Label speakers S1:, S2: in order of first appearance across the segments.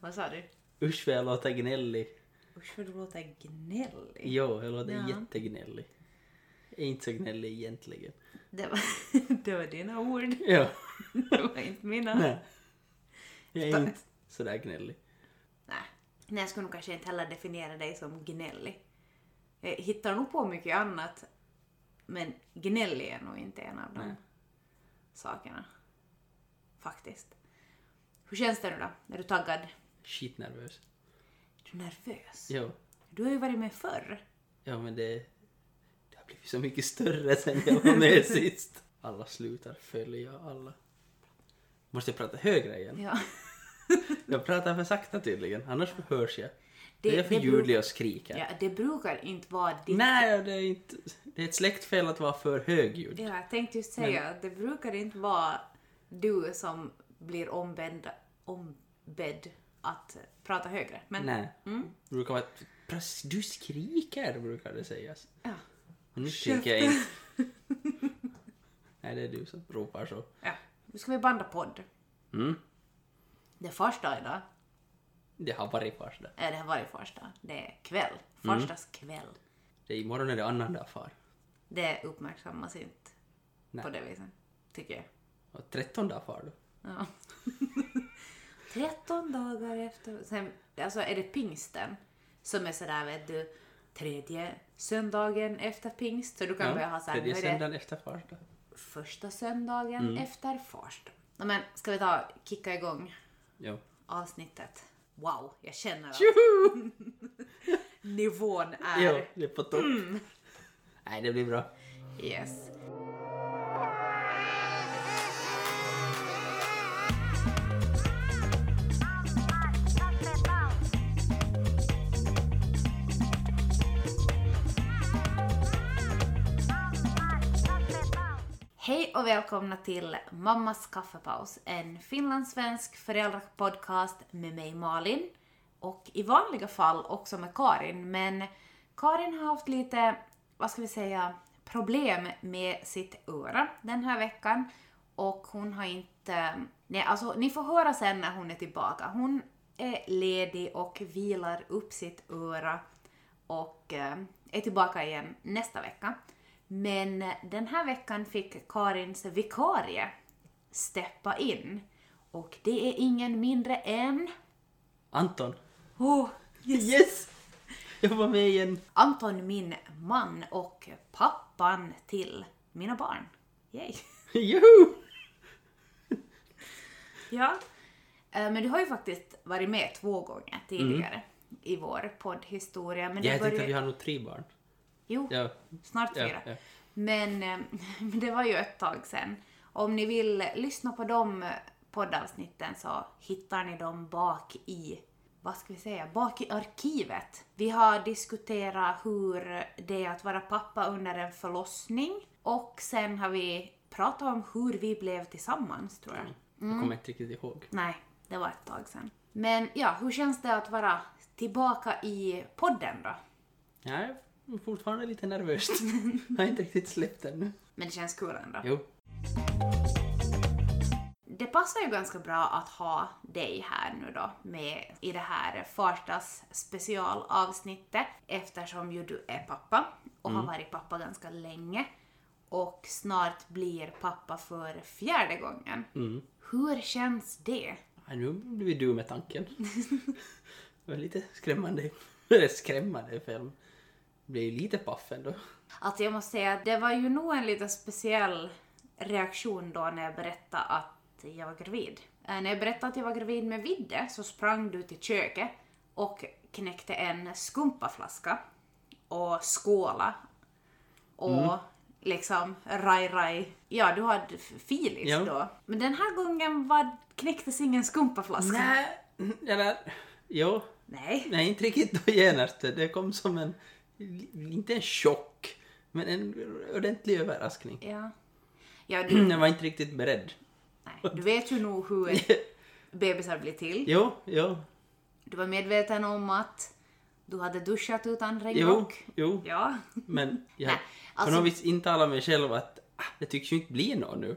S1: Vad sa du?
S2: Usch vad jag låter gnällig.
S1: Usch vad du låter gnällig.
S2: Ja, jag låter
S1: Ja.
S2: jättegnällig. Jag är inte så gnällig egentligen.
S1: Det var, det var dina ord.
S2: Ja,
S1: Det var inte mina.
S2: nej. Jag är
S1: Spä-
S2: inte sådär gnällig.
S1: Nej. Nej, jag skulle nog kanske inte heller definiera dig som gnällig. Jag hittar nog på mycket annat, men gnällig är nog inte en av de
S2: Nej.
S1: sakerna. Faktiskt. Hur känns det nu då? Är du taggad?
S2: Skitnervös.
S1: Är du nervös?
S2: Ja,
S1: Du har ju varit med förr.
S2: ja men det, det har blivit så mycket större sen jag var med sist. Alla slutar följa alla. Måste jag prata högre igen?
S1: Ja.
S2: Jag pratar för sakta tydligen, annars hörs jag.
S1: Det-
S2: Det är för
S1: det beror-
S2: ljudlig och skrika.
S1: Ja, det brukar inte vara ditt...
S2: Nej, det är inte... Det är ett släktfel att vara för högljudd.
S1: Ja, jag tänkte just säga att det brukar inte vara du som blir ombedd, ombedd att prata högre. Men
S2: Nej.
S1: Mm.
S2: Det brukar vara ett, "Pras- Du skriker, brukar det sägas.
S1: Ja.
S2: Men nu skriker jag inte. Nej, det är du som ropar så.
S1: Ja. Nu ska vi banda podd.
S2: Mm.
S1: Det är första idag.
S2: Det har varit första.
S1: Äh, det har varit första. Det är kväll.
S2: Mm.
S1: Förstas kväll.
S2: Det är imorgon är det annandag far.
S1: Det uppmärksammas inte
S2: Nej.
S1: på det viset, tycker jag.
S2: Och trettondag far då.
S1: Ja. 13 dagar efter. Sen, alltså är det pingsten som är sådär vet du, tredje söndagen efter pingst. Så du kan börja ha såhär, nu
S2: tredje
S1: är det
S2: söndagen efter första.
S1: första söndagen efter först. Ja, Men ska vi ta kicka igång
S2: Jo.
S1: avsnittet? Wow, jag känner att nivån är... Mm.
S2: jo, det är på topp. Nej, det blir bra.
S1: Yes. Hej och välkomna till Mammas kaffepaus, en finlandssvensk föräldrapodcast med mig Malin och i vanliga fall också med Karin, men Karin har haft lite, vad ska vi säga, problem med sitt öra den här veckan och hon har inte, nej alltså ni får höra sen när hon är tillbaka. Hon är ledig och vilar upp sitt öra och eh, är tillbaka igen nästa vecka. Men den här veckan fick Karins vikarie steppa in och det är ingen mindre än...
S2: Anton.
S1: Oh,
S2: Yes! Jag var med igen.
S1: Anton, min man och pappan till mina barn. Yay!
S2: Joho!
S1: Ja. Eh, Men du har ju faktiskt varit med två gånger tidigare i vår poddhistoria. Men
S2: Mm. Ja,
S1: det
S2: jag tänkte
S1: började...
S2: att vi har nog tre barn.
S1: Jo,
S2: Ja,
S1: snart
S2: ja,
S1: fyra.
S2: ja.
S1: Men eh, men det var ju ett tag sen. Om ni vill lyssna på de eh, poddavsnitten så hittar ni dem bak i, vad ska vi säga, bak i arkivet. Vi har diskuterat hur det är att vara pappa under en förlossning och sen har vi pratat om hur vi blev tillsammans tror jag.
S2: Mm.
S1: Mm.
S2: Jag kommer inte riktigt ihåg.
S1: Nej, det var ett tag sedan. Men ja, hur känns det att vara tillbaka i podden då?
S2: Jag är fortfarande lite nervöst. jag har inte riktigt släppt ännu.
S1: Men det känns kul ändå.
S2: Jo,
S1: Det passar ju ganska bra att ha dig här nu då med i det här Farstas specialavsnittet eftersom ju du är pappa och har varit pappa ganska länge och snart blir pappa för fjärde gången. Hur känns det?
S2: ja, nu blir vi du med tanken. det var lite skrämmande. Eller skrämmande film. Jag blev ju lite paff ändå.
S1: Alltså jag måste säga att det var ju nog en lite speciell reaktion då när jag berättade att jag var gravid. Eh, När jag berättade att jag var gravid med Vidde så sprang du till köket och knäckte en skumpaflaska och skåla och
S2: Mm.
S1: liksom raj raj. Ja, du hade f- filis
S2: Ja.
S1: då. Men den här gången var, knäcktes ingen skumpaflaska.
S2: Nej, eller... Jo,
S1: Nej.
S2: nej inte riktigt då genast. Det kom som en... Inte en chock, men en ordentlig överraskning.
S1: Ja. Ja, du,
S2: jag var inte riktigt beredd.
S1: nej, du vet ju nog hur bebisar blir till.
S2: Jo, jo,
S1: Du var medveten om att du hade duschat utan
S2: jo,
S1: regnrock?
S2: jo.
S1: Ja.
S2: Men jag
S1: Nej, alltså-
S2: på något vis intalar mig själv att ah, det tycks ju inte bli något nu.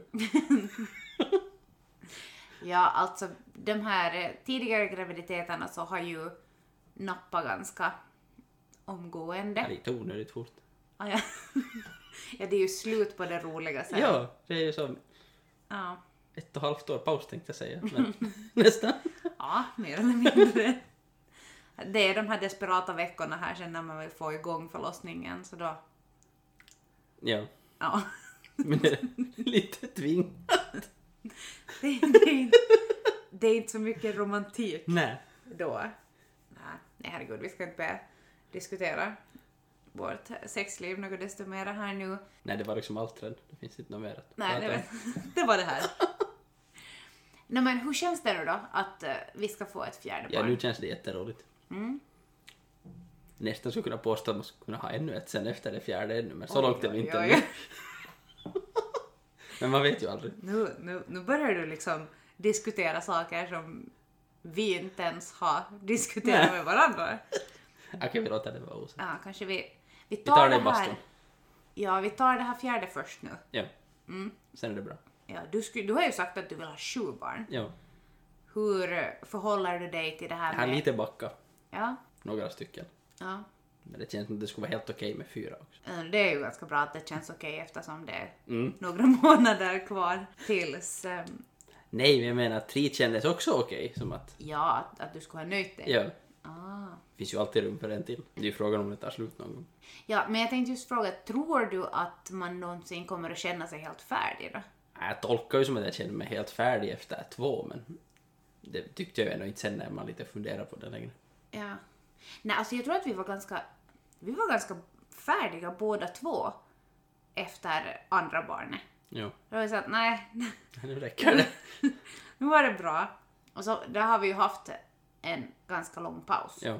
S1: Ja, alltså de här eh, tidigare graviditeterna så har ju nappat ganska
S2: Det är
S1: omgående.
S2: lite onödigt fort.
S1: Ah, ja. ja, det är ju slut på det roliga sen.
S2: Ja, det är ju som
S1: Ja,
S2: ett och ett halvt år paus tänkte jag säga. Men nästan.
S1: ja mer eller mindre. Det är de här desperata veckorna här sen när man vill få igång förlossningen så då,
S2: Ja,
S1: ja.
S2: men det är lite tving.
S1: Det, det, är inte, det är inte så mycket romantik
S2: Nej.
S1: då. Nej, nej, herregud, vi ska inte börja diskutera vårt sexliv något desto mer här nu.
S2: Nej, det var liksom allt trend. Det finns inte något mer att
S1: Nej, det,
S2: prata om.
S1: var- det var det här. Nej, men hur känns det nu då att eh, vi ska få ett fjärde
S2: Ja,
S1: barn?
S2: nu känns det jätteroligt.
S1: Mm.
S2: Nästan skulle kunna påstå att man skulle kunna ha ännu ett sen efter det fjärde ännu, men så
S1: Oj,
S2: långt är
S1: oj,
S2: vi inte
S1: oj.
S2: ännu. Men man vet ju aldrig.
S1: Nu, nu, nu börjar du liksom diskutera saker som vi inte ens har diskuterat
S2: Nej.
S1: med varandra.
S2: Okej, vi låter det vara osagt.
S1: Ja, kanske vi, vi
S2: Vi
S1: tar,
S2: tar det i
S1: det
S2: bastun.
S1: här. Ja, vi tar det här fjärde först nu.
S2: Ja.
S1: Mm.
S2: Sen är det bra.
S1: Ja, du, skulle, du har ju sagt att du vill ha sju barn.
S2: Ja.
S1: Hur eh, förhåller du dig till det här
S2: Jag har
S1: med...
S2: lite backa,
S1: Ja,
S2: några stycken.
S1: ja.
S2: Men det känns som att det skulle vara helt okej med fyra också.
S1: Eh, Det är ju ganska bra att det känns okej eftersom det är
S2: Mm.
S1: några månader kvar tills ehm,
S2: Nej, men jag menar tre kändes också okej. som att,
S1: ja, att, att du skulle ha nöjt dig.
S2: ja,
S1: Ah.
S2: det finns ju alltid rum för en till. Det är ju frågan om det tar slut någon gång.
S1: Ja, men jag tänkte just fråga, tror du att man någonsin kommer att känna sig helt färdig då?
S2: Nej, Jag tolkar ju som att jag känner mig helt färdig efter två, men det tyckte jag ju ändå inte sen när man lite funderar på det längre.
S1: Ja. Nej, alltså jag tror att vi var ganska, vi var ganska färdiga båda två efter andra barnet.
S2: Ja,
S1: Då var vi så att nej,
S2: nu räcker det.
S1: nu var det bra. Och så, där har vi ju haft en ganska lång paus.
S2: Ja.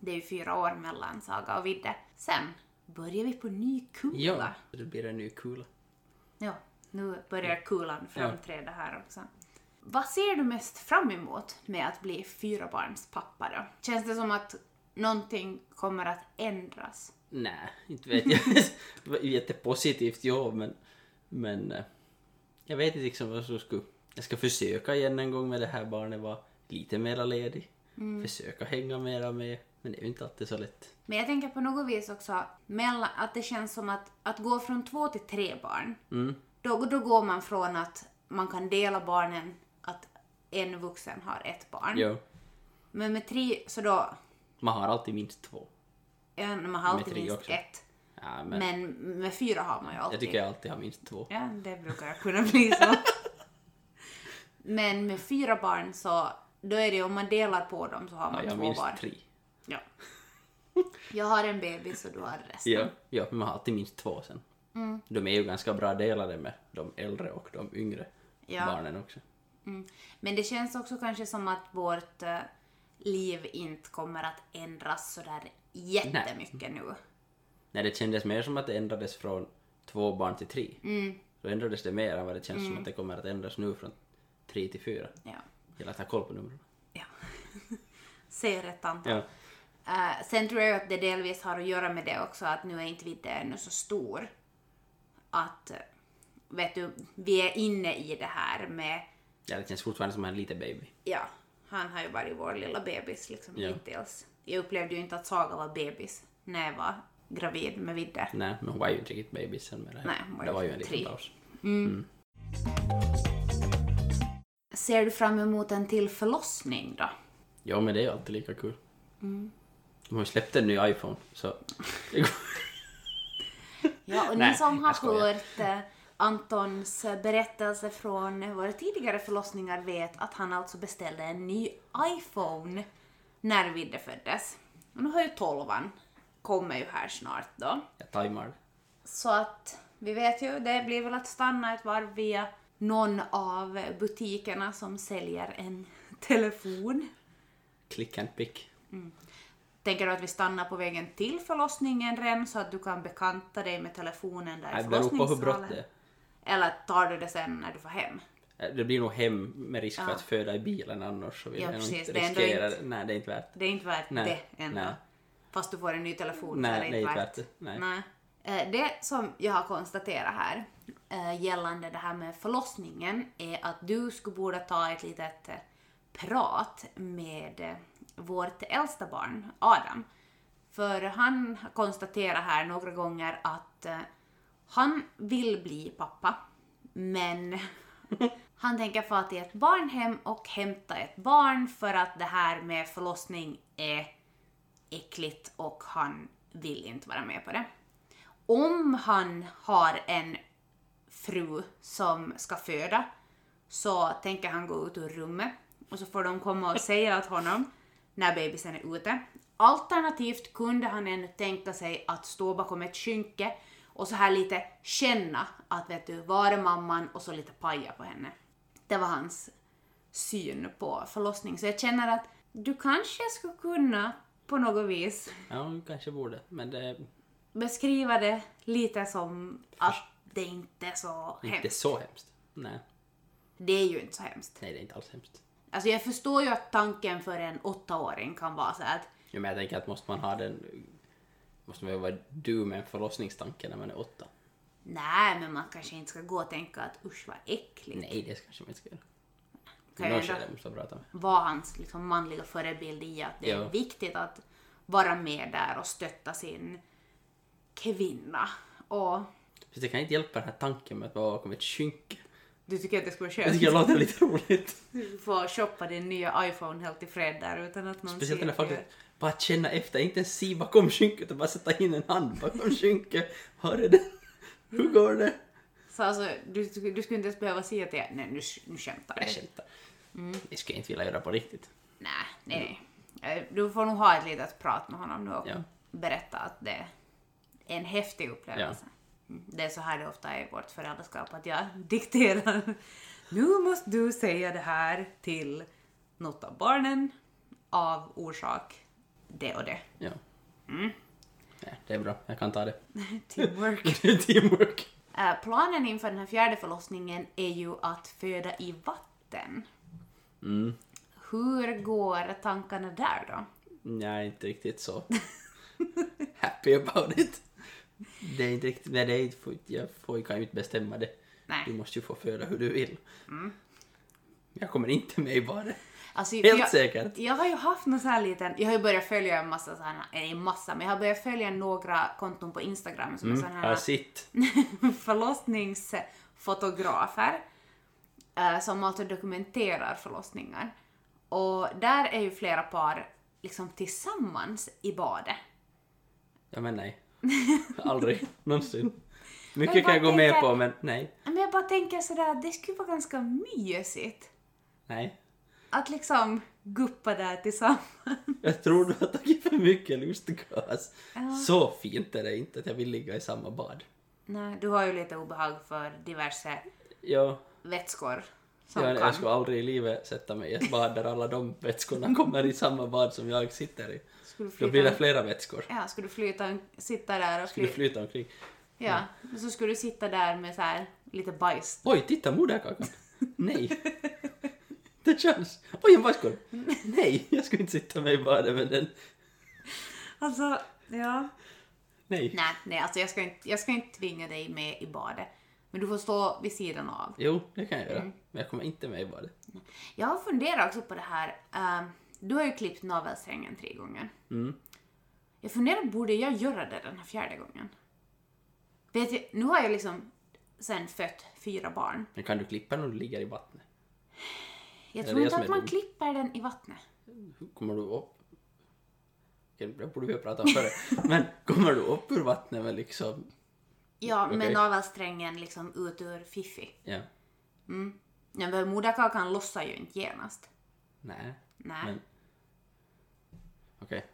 S1: Det är ju fyra år mellan Saga och Vidde. Sen börjar vi på ny kula.
S2: ja, det blir en ny kula.
S1: Ja, nu börjar kulan framträda här också. Vad ser du mest fram emot med att bli fyra barns pappa då? Känns det som att någonting kommer att ändras?
S2: Nej, inte vet jag. Det var Jättepositivt, ja, men... Men... eh, Jag vet inte liksom vad som skulle... Jag ska försöka igen en gång med det här barnet, vara lite mera ledig. Försöka hänga mera med. Men det är ju inte alltid så lätt.
S1: Men jag tänker på något vis också mellan, att det känns som att, att gå från två till tre barn,
S2: Mm.
S1: då, då går man från att man kan dela barnen, att en vuxen har ett barn.
S2: Ja.
S1: Men med tre, så då,
S2: Man har alltid minst två.
S1: en, man har alltid
S2: tre
S1: minst
S2: också.
S1: ett.
S2: Ja, men,
S1: Men med fyra har man ju alltid.
S2: jag tycker jag alltid har minst två.
S1: Ja, det brukar kunna bli så. Men med fyra barn så, då är det ju om man delar på dem så har
S2: Ja,
S1: man
S2: jag har
S1: två
S2: minst
S1: barn.
S2: tre.
S1: Ja. Jag har en bebis och du har resten.
S2: Ja. ja, men man har alltid minst två sen.
S1: Mm.
S2: De är ju ganska bra delade med de äldre och de yngre
S1: Ja.
S2: barnen också.
S1: Mm. Men det känns också kanske som att vårt eh, liv inte kommer att ändras sådär jättemycket nu.
S2: Nej, det kändes mer som att det ändrades från två barn till tre.
S1: Mm,
S2: Då ändrades det mer än vad det känns som att det kommer att ändras nu från tre till fyra.
S1: ja.
S2: Eller att ha koll på numren.
S1: ja. Säger rätt antal.
S2: Ja.
S1: Eh, sen tror jag att det delvis har att göra med det också att nu är inte Vidde ännu så stor. Att, eh, vet du, vi är inne i det här med,
S2: ja, det känns fortfarande som en liten baby.
S1: ja, han har ju varit vår lilla bebis liksom
S2: Ja.
S1: hittills. Jag upplevde ju inte att Saga var bebis när jag var gravid med Vidde.
S2: Nej, men hon var ju inte riktigt baby sen med det här.
S1: Nej, hon var
S2: det
S1: ju
S2: var ju en liten
S1: tre.
S2: paus.
S1: Ser du fram emot en till förlossning då?
S2: Ja, men det är ju alltid lika kul.
S1: Mm.
S2: De har ju släppt en ny iPhone, så... det går-
S1: Ja, och ni
S2: Nej,
S1: som
S2: jag
S1: har
S2: skojar.
S1: hört eh, Antons berättelse från eh, våra tidigare förlossningar vet att han alltså beställde en ny iPhone när Vidde föddes. Och nu har ju tolvan kommer ju här snart då.
S2: Jag tajmar det.
S1: Så att vi vet ju, det blir väl att stanna ett varv via någon av butikerna som säljer en telefon.
S2: Click and pick.
S1: Tänker du att vi stannar på vägen till förlossningen redan så att du kan bekanta dig med telefonen där i
S2: Det beror på hur brått
S1: förlossningssalen?
S2: det är.
S1: Eller tar du det sen när du får hem?
S2: Eh, Det blir nog hem med risk för
S1: Ja.
S2: att föda i bilen annars så vill
S1: Ja,
S2: jag nog
S1: precis.
S2: inte
S1: Det är ändå
S2: riskera
S1: inte-
S2: det. Nej, det är inte värt det.
S1: Det är inte värt
S2: Nej,
S1: det ändå.
S2: nej.
S1: Fast du får en ny telefon så är
S2: Nej,
S1: det inte värt det.
S2: Nej.
S1: Nej. Eh, Det som jag har konstaterat här eh, gällande det här med förlossningen är att du skulle borde ta ett litet eh, prat med eh, vårt äldsta barn, Adam. För han konstaterar här några gånger att eh, han vill bli pappa, men han tänker få till ett barnhem och hämta ett barn för att det här med förlossning är äckligt och han vill inte vara med på det. Om han har en fru som ska föda så tänker han gå ut ur rummet och så får de komma och säga åt honom när bebisen är ute. Alternativt kunde han ännu tänka sig att stå bakom ett skynke och så här lite känna att vet du, var är mamman och så lite paja på henne. Det var hans syn på förlossning. Så jag känner att du kanske skulle kunna på något vis
S2: Ja, hon kanske borde. Men det är
S1: beskriva det lite som att det inte är så
S2: inte
S1: hemskt.
S2: så hemskt. Nej,
S1: Det är ju inte så hemskt.
S2: nej det är inte alls hemskt.
S1: Alltså jag förstår ju att tanken för en åttaåring kan vara så här att
S2: Jo, men jag tänker att måste man ha den... Måste man ju vara du med en förlossningstanke när man är åtta?
S1: nej, men man kanske inte ska gå och tänka att usch vad äckligt.
S2: Nej, det kanske man inte ska göra.
S1: Kan
S2: Men
S1: ju
S2: någon
S1: ändå
S2: skede måste man prata med.
S1: vara hans liksom, manliga förebild i att det är
S2: Ja.
S1: viktigt att vara med där och stötta sin kvinna. Och
S2: För det kan inte hjälpa den här tanken med att vara bakom ett skynke.
S1: du tycker att det skulle vara
S2: Jag
S1: skönt?
S2: tycker det låter lite roligt.
S1: Du får shoppa din nya iPhone helt i fred där utan att någon
S2: Speciellt
S1: ser
S2: när folk
S1: det.
S2: bara att känna efter, inte ens se bakom skynket utan bara sätta in en hand bakom skynket. Hör är det? Hur går det?
S1: Så alltså, du, du skulle inte ens behöva säga till er, nej nu, nu skämtar
S2: Jag
S1: jag.
S2: skämtar. Det skulle jag inte vilja göra på riktigt.
S1: Nej, nej, nej. Eh, Du får nog ha ett litet prat med honom nu och
S2: Ja.
S1: berätta att det är en häftig upplevelse. Mm, Det är så här det ofta är i vårt föräldraskap, att jag dikterar. Nu måste du säga det här till något av barnen av orsak det och det.
S2: Ja. Mm. ja. Det är bra, jag kan ta det.
S1: Teamwork.
S2: Det är Teamwork.
S1: Eh, Planen inför den här fjärde förlossningen är ju att föda i vatten.
S2: Mm.
S1: Hur går tankarna där då?
S2: Nej, inte riktigt så happy about it. Det är inte riktigt, nej det är inte, får- jag får, kan ju inte bestämma det. Du
S1: Nej.
S2: måste ju få föda hur du vill. Jag kommer inte med i badet.
S1: Alltså,
S2: Helt
S1: jag,
S2: säkert.
S1: Jag har ju haft någon sån här liten, jag har ju börjat följa en massa sådana, eller en massa, men jag har börjat följa några konton på Instagram som är sådana
S2: Ja,
S1: här
S2: sitt.
S1: förlossningsfotografer eh, som alltså dokumenterar förlossningar. Och där är ju flera par liksom tillsammans i badet.
S2: Ja men nej. Aldrig. Någonsin.
S1: Men
S2: Mycket
S1: vad
S2: kan jag gå med
S1: tänker-
S2: på men nej.
S1: Men jag bara tänker sådär, det skulle vara ganska mysigt
S2: Nej.
S1: att liksom guppa där tillsammans.
S2: Jag tror du har tagit för mycket lustgas.
S1: Ja.
S2: Så fint är det inte att jag vill ligga i samma bad.
S1: Nej, du har ju lite obehag för diverse
S2: Ja,
S1: vätskor som
S2: jag,
S1: kan
S2: jag skulle aldrig i livet sätta mig i ett bad där alla de vätskorna kommer i samma bad som jag sitter i.
S1: Skulle
S2: Då blir
S1: flyta,
S2: det flera vätskor.
S1: ja, skulle du flyta, sitta där och
S2: Skulle
S1: flyta.
S2: flyta omkring.
S1: Ja, och så skulle du sitta där med så här lite bajs.
S2: Oj, titta moderkakan! Nej! Det känns... Oj, en bajskorv! Nej, jag skulle inte sitta med i badet med den.
S1: Alltså, ja.
S2: Nej.
S1: Nej, nej, alltså jag ska, inte, jag ska inte tvinga dig med i badet. Men du får stå vid sidan av.
S2: Jo, det kan jag göra.
S1: Mm.
S2: Men jag kommer inte med i badet.
S1: Jag har funderat också på det här. ehm, du har ju klippt navelsträngen tre gånger.
S2: Mm.
S1: Jag funderar, borde jag göra det den här fjärde gången? Vet jag, nu har jag liksom sen fött fyra barn.
S2: Men kan du klippa när du ligger i vattnet?
S1: Jag
S2: Är
S1: tror
S2: det
S1: inte
S2: jag som
S1: att
S2: är
S1: man
S2: dum?
S1: klipper den i vattnet.
S2: Hur Kommer du upp? Okej, Det borde vi ha pratat om före. Men kommer du upp ur vattnet med liksom...
S1: Ja, med
S2: Okej.
S1: navelsträngen liksom ut ur fiffi.
S2: Ja.
S1: Ja, men moderkakan lossar ju inte genast.
S2: Nej.
S1: Nej.
S2: Men... Okej.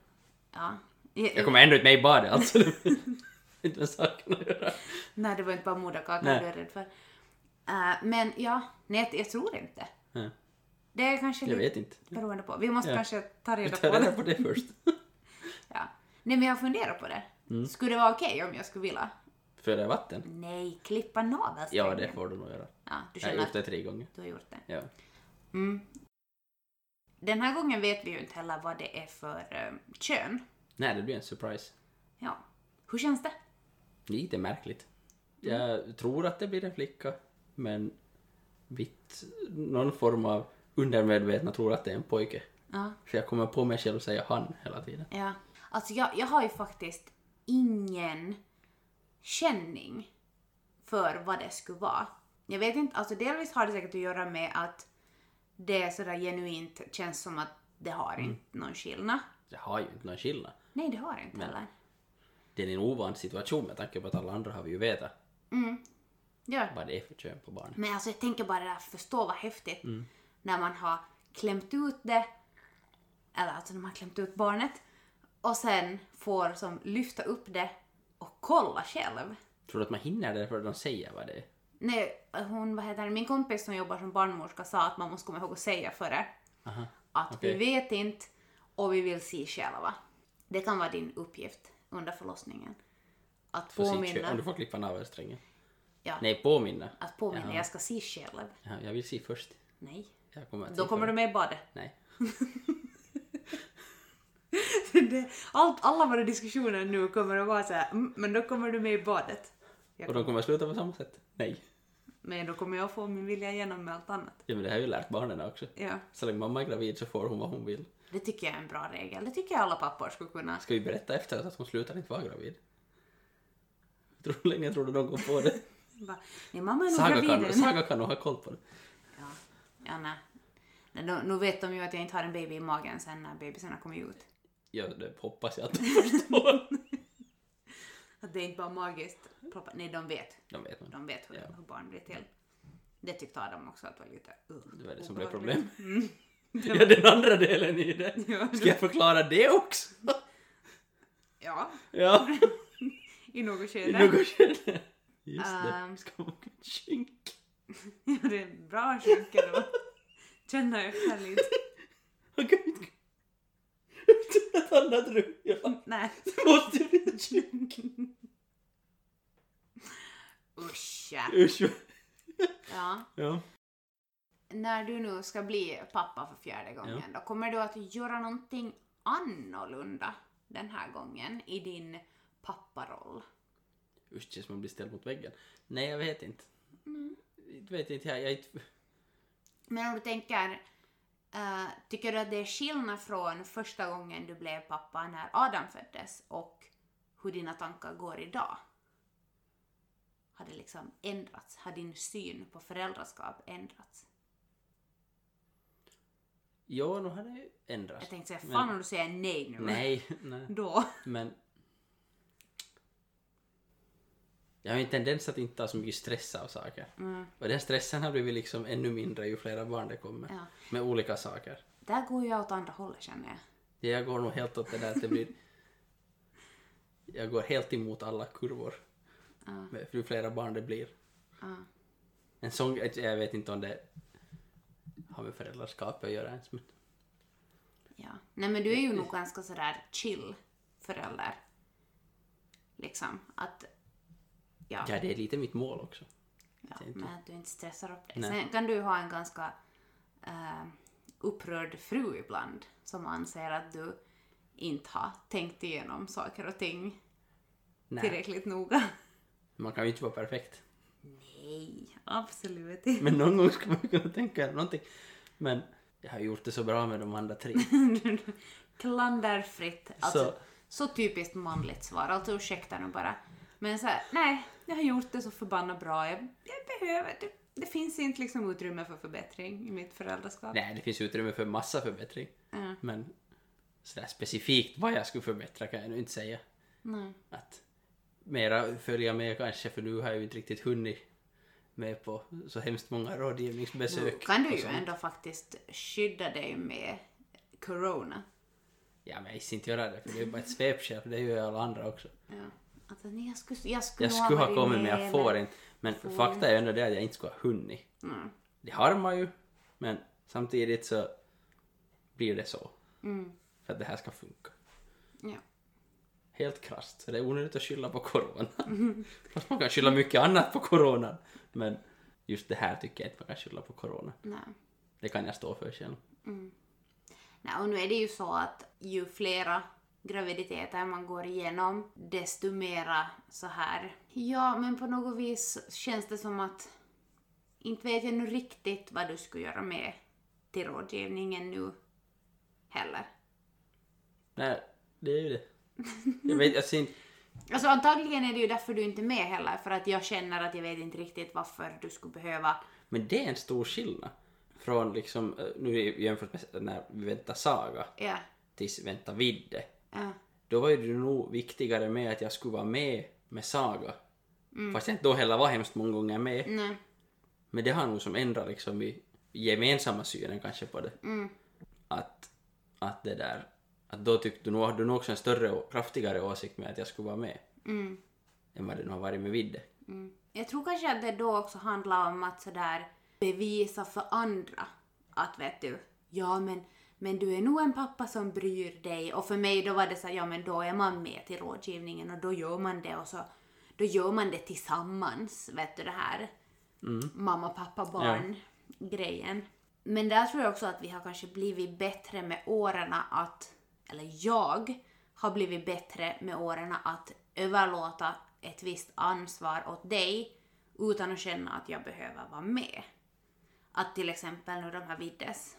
S1: Ja.
S2: Jag
S1: Eh.
S2: kommer ändå inte med i badet alltså. Det har inte med saken att göra.
S1: Nej, det var inte bara moderkakan
S2: Nej.
S1: du är rädd för. Eh, men ja, nej, jag tror inte.
S2: Nej,
S1: Det är kanske
S2: Jag
S1: lite
S2: vet inte.
S1: beroende på. Vi måste
S2: Ja.
S1: kanske ta
S2: Vi
S1: reda på
S2: tar reda
S1: det.
S2: på det först.
S1: Ja. Nej, men jag funderar på det.
S2: Mm.
S1: Skulle det vara okej om jag skulle vilja?
S2: Föda i vatten?
S1: Nej, klippa navelsträngen.
S2: Ja, det får du nog göra.
S1: Ja, du
S2: Jag har
S1: känner
S2: gjort
S1: att
S2: det tre gånger.
S1: du har gjort det.
S2: Ja.
S1: Mm. Den här gången vet vi ju inte heller vad det är för eh, kön.
S2: Nej, det blir en surprise.
S1: Ja. Hur känns det?
S2: Lite märkligt.
S1: Mm.
S2: Jag tror att det blir en flicka, men mitt, någon form av undermedvetna tror att det är en pojke.
S1: Ja.
S2: Så jag kommer på mig själv att säga han hela tiden.
S1: Ja. Alltså jag, jag har ju faktiskt ingen känning för vad det skulle vara. Jag vet inte, alltså delvis har det säkert att göra med att det sådär genuint känns som att det har inte någon skillnad.
S2: Jag har ju inte någon skillnad.
S1: Nej, det har det inte heller.
S2: Det är en ovan situation med tanke på att alla andra har vi ju vetat
S1: Ja.
S2: vad det är för kön på barnet.
S1: Men alltså jag tänker bara det här, förstå vad häftigt när man har klämt ut det, eller alltså när man har klämt ut barnet och sen får som lyfta upp det och kolla själv.
S2: Tror du att man hinner det för att de säger vad det är?
S1: Nej, hon, vad heter det, min kompis som jobbar som barnmorska sa att man måste komma ihåg att säga före.
S2: Aha.
S1: Att
S2: Okej.
S1: vi vet inte och vi vill se själva. Det kan vara din uppgift under förlossningen. Att
S2: För sitt kön. Om
S1: påminna.
S2: du får klippa navelsträngen.
S1: Ja,
S2: Nej, påminna.
S1: att påminna.
S2: Jaha.
S1: Jag ska se själv.
S2: Ja, jag vill se först.
S1: Nej.
S2: Jag kommer att
S1: Då
S2: se
S1: kommer
S2: först.
S1: du med i badet.
S2: Nej.
S1: Det- Allt, alla våra diskussioner nu kommer att vara så här, "Mm, men då kommer du med i badet. Jag,
S2: Och de kommer att sluta på samma sätt? Nej.
S1: men då kommer jag få min vilja igenom med allt annat.
S2: Ja, men det här har ju lärt barnen också.
S1: Ja.
S2: Så länge mamma är gravid så får hon vad hon vill.
S1: Det tycker jag är en bra regel. Det tycker jag alla pappor skulle kunna.
S2: Ska vi berätta efteråt att hon slutar inte vara gravid? Tror, hur länge tror du de kom på det?
S1: Bara, Nej, mamma är nog
S2: Saga
S1: gravid
S2: kan,
S1: än.
S2: Saga kan nog ha koll på det.
S1: Ja, ja nej. Nej, nu- Nu vet de ju att jag inte har en baby i magen sen när bebisarna kommer ut.
S2: Ja, det hoppas jag att de förstår.
S1: Att det är inte bara magiskt. ploppa- Nej, de vet.
S2: De vet nog.
S1: De vet hur,
S2: Ja.
S1: hur barn blir till. Det tyckte Adam också att var lite uh,
S2: Det var det som blev
S1: obehagligt.
S2: problem. Ja, den andra delen i det.
S1: Ja,
S2: Ska jag förklara det också?
S1: Ja,
S2: Ja,
S1: i något
S2: i
S1: skede.
S2: något skede. Just
S1: Ehm.
S2: det. Ska man skynka?
S1: Ja, det är en bra skänka då. Känna efter lite.
S2: Han kan ju inte... Utan ett annat rum. Ja,
S1: Nej,
S2: det måste ju bli en skynk.
S1: usch ja.
S2: Usch.
S1: ja.
S2: Ja.
S1: När du nu ska bli pappa för fjärde gången då, kommer du att göra någonting annorlunda den här gången i din papparoll?
S2: Usch, det känns som man blir ställd mot väggen. Nej, jag vet inte.
S1: Mm.
S2: Jag vet inte, jag, jag är inte...
S1: Men om du tänker, eh, tycker du att det är skillnad från första gången du blev pappa när Adam föddes och hur dina tankar går idag? Har det liksom ändrats? Har din syn på föräldraskap ändrats?
S2: Ja, nu har det ju
S1: Jag
S2: ändrats.
S1: tänkte säga, fan
S2: Men-
S1: om du säger nej nu.
S2: Nej, nej.
S1: Då.
S2: Men... Jag har ju en tendens att inte ha så mycket stress av saker.
S1: Mm.
S2: Och den stressen har blivit liksom ännu mindre ju flera barn det kommer.
S1: Ja.
S2: Med olika saker.
S1: Där går jag åt andra hållet känner jag.
S2: Det Jag går nog helt åt det där att det blir... Jag går helt emot alla kurvor.
S1: Ja.
S2: Med Ju flera barn det blir.
S1: Ja.
S2: En sån... Jag vet inte om det har med föräldraskap att göra ens. Men...
S1: Ja. Nej men du är ju nog ganska sådär chill förälder. Liksom att... Ja.
S2: Ja, det är lite mitt mål också.
S1: ja
S2: det är inte-
S1: men att du inte stressar upp dig.
S2: Nej.
S1: Sen kan du ju ha en ganska eh, upprörd fru ibland som anser att du inte har tänkt igenom saker och ting
S2: Nej,
S1: tillräckligt noga.
S2: man kan ju inte vara perfekt.
S1: Nej, absolut inte.
S2: Men någon gång ska man ju kunna tänka någonting. Men jag har gjort det så bra med de andra tre.
S1: Klanderfritt. Alltså,
S2: Så-
S1: så typiskt manligt svar. Alltså ursäkta nu bara. Men så här, nej, jag har gjort det så förbannat bra. Jag, jag behöver, det, det finns inte liksom utrymme för förbättring i mitt föräldraskap.
S2: Nej, det finns utrymme för massa förbättring.
S1: Ja,
S2: Men sådär specifikt vad jag skulle förbättra kan jag nog inte säga.
S1: nej.
S2: Att mera följa med kanske, för nu har jag ju inte riktigt hunnit med på så hemskt många
S1: Nu
S2: rådgivningsbesök.
S1: kan du
S2: och
S1: ju
S2: sånt.
S1: ändå faktiskt skydda dig med corona.
S2: Ja, men jag ska inte göra det, för det är ju bara ett svepskäl, för det gör ju alla andra också.
S1: Ja. Alltså, nej, jag skulle, jag skulle,
S2: Jag skulle ha
S1: aldrig
S2: kommit, men
S1: med,
S2: jag får inte. Men fakta är ändå det att jag inte skulle ha hunnit.
S1: Mm.
S2: Det harmar ju, men samtidigt så blir det så.
S1: Mm.
S2: För att det här ska funka.
S1: Ja.
S2: Helt krasst. Så det är onödigt att skylla på corona. Fast man kan skylla mycket annat på corona. Men just det här tycker jag inte man kan skylla på corona.
S1: Nej.
S2: Det kan jag stå för själv.
S1: Nej, och nu är det ju så att ju flera graviditeter man går igenom, desto mera så här. Ja, men på något vis känns det som att inte vet jag nu riktigt vad du skulle göra med till rådgivningen nu heller.
S2: Nej, det är ju det. Jag vet, alltså inte...
S1: Alltså antagligen är det ju därför du inte är med heller, för att jag känner att jag vet inte riktigt varför du skulle behöva...
S2: Men det är en stor skillnad från liksom, eh, nu jämfört med när vi väntar Saga
S1: Ja,
S2: tills väntar Vidde.
S1: ja,
S2: Då var ju det nog viktigare med att jag skulle vara med med Saga. Fast jag inte då heller var hemskt många gånger med.
S1: nej,
S2: Men det har nog som ändrat liksom i gemensamma synen kanske på det.
S1: mm,
S2: Att, att det där, att då tyckte du nog, hade du nog också en större och kraftigare åsikt med att jag skulle vara med
S1: mm,
S2: än vad det nog har varit med Vidde.
S1: mm. Jag tror kanske att det då också handlar om att sådär bevisa för andra att vet du, ja men, men du är nog en pappa som bryr dig och för mig då var det så här, ja men då är man med till rådgivningen och då gör man det och så då gör man det tillsammans, vet du det här mamma, pappa, barn grejen. Men där tror jag också att vi har kanske blivit bättre med åren att, eller jag har blivit bättre med åren att överlåta ett visst ansvar åt dig utan att känna att jag behöver vara med. Att till exempel nu de här Viddes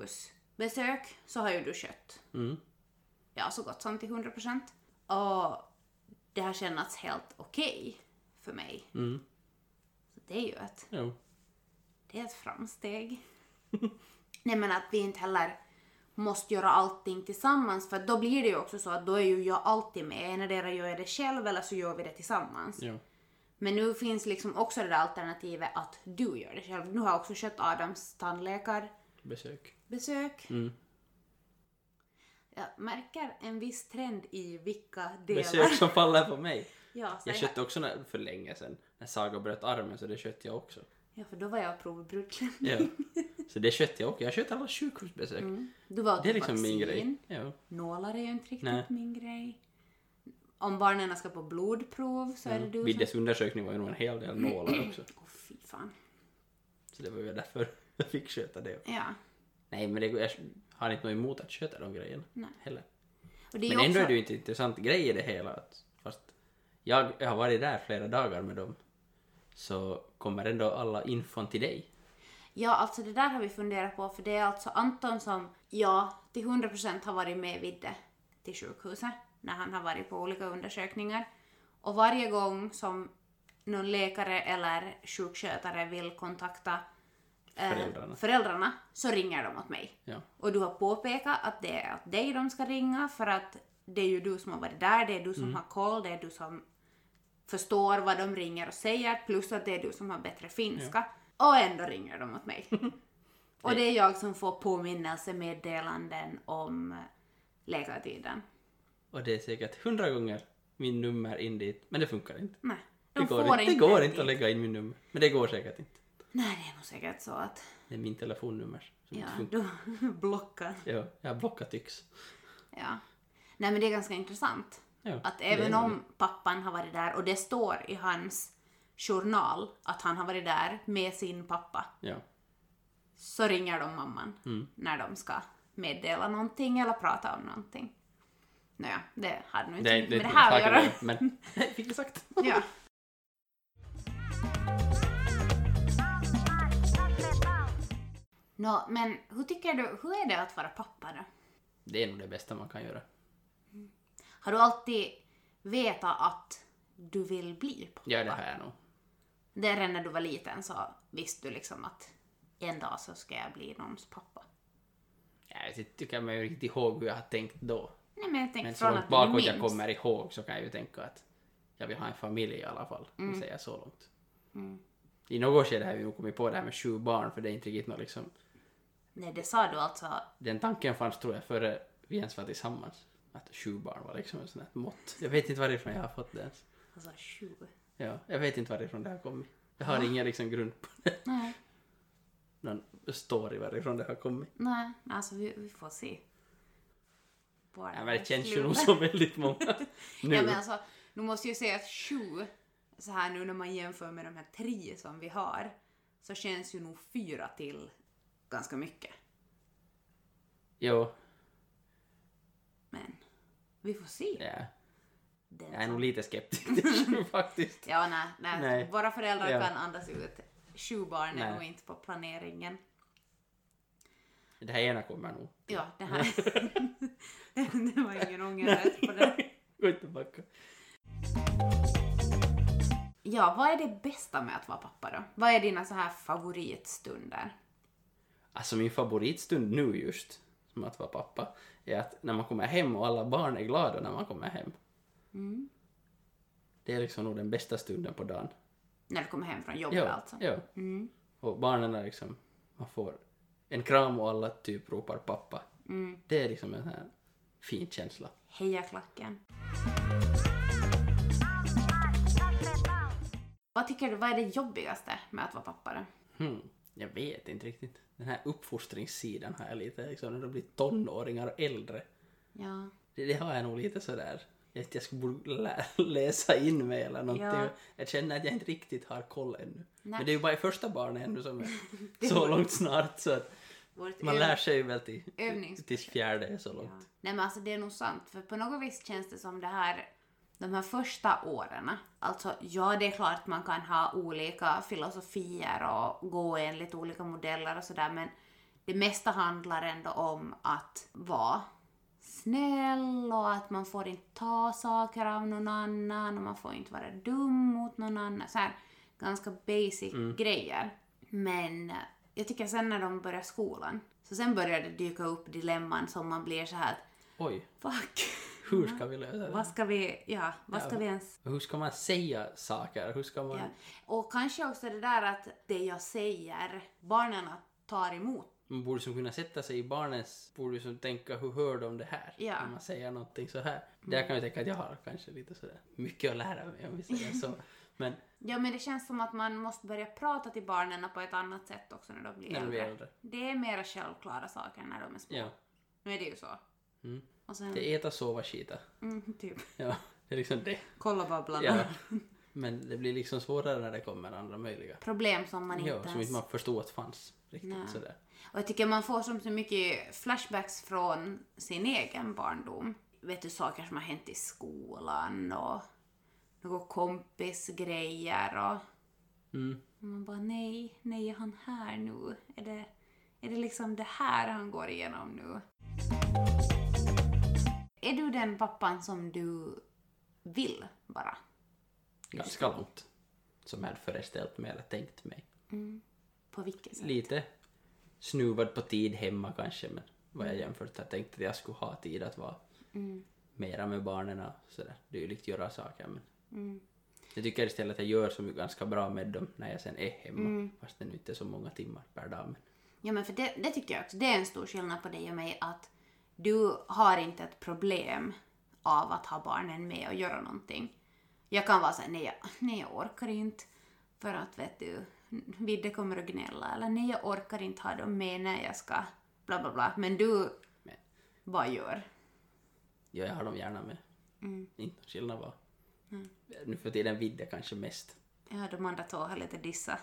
S1: sjukhusbesök så har ju du kött.
S2: Mm.
S1: Ja, så gott som till 100%. Och det har kännats helt okej för mig.
S2: Mm.
S1: Så det är ju ett
S2: Jo.
S1: det är ett framsteg. Nej men att vi inte heller måste göra allting tillsammans för då blir det ju också så att då är ju jag alltid med. Endera gör jag det själv eller så gör vi det tillsammans.
S2: Jo.
S1: Men nu finns liksom också det där alternativet att du gör det själv. Nu har jag också kört Adams tandläkarbesök.
S2: Besök. Mm.
S1: Jag märker en viss trend i vilka delar...
S2: Besök som faller på mig.
S1: Ja, så
S2: Jag
S1: jag
S2: köpte också när, för länge sedan, när Saga bröt armen, så det köpte jag också.
S1: ja, för då var jag provbrudklänning.
S2: Ja. Så det köpte jag också. Jag köpte alla sjukhusbesök.
S1: Du var
S2: Det är liksom
S1: Mm. vaccin.
S2: min grej. Ja.
S1: Nålar är ju inte riktigt
S2: Nej.
S1: min grej. Om barnen ska på blodprov så är det du som...
S2: Viddes undersökning var ju nog en hel del nålar också.
S1: Åh fy fan.
S2: Så det var ju därför jag fick köta det.
S1: Ja.
S2: Nej men det, jag har inte något emot att köta de grejerna
S1: Nej.
S2: heller.
S1: Och det är
S2: Men
S1: ju
S2: ändå
S1: också...
S2: är det ju inte en intressant grej i det hela. Att, fast jag, jag har varit där flera dagar med dem. Så kommer ändå alla infon till dig.
S1: Ja, alltså det där har vi funderat på för det är alltså Anton som, ja, till 100% har varit med Vidde till sjukhuset när han har varit på olika undersökningar. Och varje gång som någon läkare eller sjukskötare vill kontakta eh,
S2: Föräldrarna.
S1: föräldrarna så ringer de åt mig.
S2: Ja.
S1: Och du har påpekat att det är åt dig de ska ringa för att det är ju du som har varit där, det är du som
S2: Mm.
S1: har koll, det är du som förstår vad de ringer och säger plus att det är du som har bättre finska. Och ändå ringer de åt mig. och det är jag som får påminnelsemeddelanden om eh, läkartiden.
S2: Och det är säkert hundra gånger min nummer in dit. Men det funkar inte.
S1: Nej, de
S2: Det går,
S1: får
S2: inte,
S1: inte
S2: det går
S1: dit.
S2: inte att lägga in min nummer. Men det går säkert inte.
S1: Nej, det är nog säkert så att
S2: Det är min telefonnummer som
S1: ja,
S2: inte funkar.
S1: de blockar.
S2: Ja, jag har blockat Yx.
S1: Ja. Nej, men det är ganska intressant.
S2: Ja,
S1: Att
S2: det är
S1: även
S2: nog
S1: om pappan har varit där och det står i hans journal att han har varit där med sin pappa
S2: det. Ja.
S1: så ringer de mamman
S2: Mm.
S1: när de ska meddela någonting eller prata om någonting. Nåja, det hade nu inte
S2: är-
S1: mycket med
S2: är
S1: det här att
S2: saker
S1: göra.
S2: med, Men jag fick det sagt.
S1: Ja. Nå, men hur tycker du, hur är det att vara pappa då?
S2: Det är nog det bästa man kan göra.
S1: Har du alltid vetat att du vill bli pappa?
S2: Ja, det har jag nog.
S1: Det är redan när du var liten så visste du liksom att en dag så ska jag bli någons pappa.
S2: Jag vet inte, tycker jag mig riktigt ihåg hur jag har tänkt då.
S1: Nej men jag tänker
S2: Men så
S1: från
S2: långt
S1: att du
S2: bakåt
S1: minns.
S2: jag kommer ihåg så kan jag ju tänka att jag vill ha en familj i alla fall. Om
S1: Mm.
S2: jag säger så långt. I något skede har vi nog kommit på det här med sju barn för det är inte riktigt något liksom.
S1: Nej det sa du alltså.
S2: Den tanken fanns tror jag före vi ens var tillsammans. Att sju barn var liksom ett sånt här mått. Jag vet inte varifrån jag har fått det ens.
S1: Alltså tju.
S2: Ja, jag vet inte varifrån det har kommit. Jag har ingen liksom grund på det.
S1: Nej,
S2: Någon story varifrån det har kommit.
S1: nej, alltså vi, vi får se. Bara
S2: Ja, men det känns ju
S1: sluta.
S2: nog som väldigt många nu.
S1: Ja men alltså, nu måste jag säga att tju, så här nu när man jämför med de här tre som vi har, så känns ju nog fyra till ganska mycket.
S2: Jo,
S1: Men Vi får se.
S2: Ja.
S1: Den
S2: Jag är
S1: som-
S2: nog lite skeptisk till det faktiskt.
S1: Ja, nej, nej.
S2: Nej.
S1: Våra föräldrar
S2: Ja.
S1: kan andas ut. Sju barn är
S2: Nej.
S1: nog inte på planeringen.
S2: Det här ena kommer nog.
S1: Ja, det här... det, det var ingen ångerrätt på det.
S2: Gå inte backa.
S1: Ja, vad är det bästa med att vara pappa då? Vad är dina så här favoritstunder?
S2: Alltså min favoritstund nu just, som att vara pappa, är att när man kommer hem och alla barn är glada när man kommer hem.
S1: Mm.
S2: Det är liksom nog den bästa stunden på dagen.
S1: När du kommer hem från jobbet
S2: Ja,
S1: alltså?
S2: ja.
S1: Mm.
S2: Och barnen är liksom, man får en kram och alla typ ropar pappa.
S1: Mm.
S2: Det är liksom en här fin känsla.
S1: Heja klacken! Vad tycker du, vad är det jobbigaste med att vara pappa då?
S2: Hmm, jag vet inte riktigt. Den här uppfostringssidan har jag lite, liksom när de blir tonåringar och äldre.
S1: Ja.
S2: Det, det har jag nog lite sådär. Jag, jag skulle borde lä- läsa in mig eller någonting.
S1: Ja.
S2: Jag känner att jag inte riktigt har koll ännu.
S1: Nej.
S2: Men det är ju bara i första barnet ännu som är
S1: Det
S2: så
S1: var-
S2: långt snart så att
S1: Vårt
S2: man
S1: öv-
S2: lär sig ju väl till,
S1: Övnings-
S2: till fjärde är så
S1: Ja.
S2: långt.
S1: Nej men alltså det är nog sant, för på något vis känns det som det här, de här första åren, alltså ja det är klart man kan ha olika filosofier och gå enligt olika modeller och sådär men det mesta handlar ändå om att vara snäll och att man får inte ta saker av någon annan och man får inte vara dum mot någon annan. Så här, ganska basic grejer. Men eh, jag tycker sen när de börjar skolan, så sen börjar det dyka upp dilemman som man blir så här att,
S2: Oj,
S1: fuck,
S2: hur ska vi lösa det?
S1: vad ska vi, ja, vad ska vi ens
S2: Hur ska man säga saker? Hur ska man...
S1: Ja. Och kanske också det där att det jag säger, barnen tar emot.
S2: Man borde som kunna sätta sig i barnens... Borde som tänka hur hör de det här?
S1: Ja. Mm.
S2: När man säger någonting så här. Där kan jag tänka att jag har kanske lite sådär mycket att lära mig om vi säger så. Men
S1: Ja, men det känns som att man måste börja prata till barnen på ett annat sätt också när de blir
S2: när
S1: äldre.
S2: vi är äldre.
S1: Det är mera självklara saker när de är små.
S2: Ja.
S1: Nu är det ju så.
S2: Mm.
S1: Och sen,
S2: Det är äta, sova, skita.
S1: mm, typ,
S2: Ja, det är liksom det.
S1: kolla babblarna.
S2: Ja. Men det blir liksom svårare när det kommer andra möjliga.
S1: Problem som man inte
S2: Ja, som
S1: ens...
S2: inte man förstod att fanns riktigt
S1: Nej.
S2: sådär.
S1: Och jag tycker man får som så mycket flashbacks från sin egen barndom. Vet du, saker som har hänt i skolan och några kompisgrejer och...
S2: Mm.
S1: Och Man bara nej, nej är han här nu? Är det, är det liksom det här han går igenom nu? Är du den pappan som du vill vara?
S2: Ganska långt. Som jag hade föreställt mig eller tänkt mig.
S1: På vilket sätt?
S2: Lite snuvad på tid hemma kanske, men vad jag jämfört jag tänkte att jag skulle ha tid att vara mera med barnen och sådär. Det är ju likt göra saker men jag tycker istället att jag gör så mycket ganska bra med dem när jag sen är hemma. Fast det nu inte är så många timmar per dag. Men...
S1: Ja men för det, det tycker jag också, det är en stor skillnad på dig och mig att du har inte ett problem av att ha barnen med och göra någonting. Jag kan vara såhär, nej jag, nej jag orkar inte för att vet du, Vidde kommer att gnälla eller nej jag orkar inte ha dem med när jag ska bla bla bla. Men du
S2: Men...
S1: bara gör.
S2: Ja, jag har dem gärna med. Inte någon skillnad bara. Nu för tiden vidde kanske mest.
S1: Ja, de andra två har lite dissa.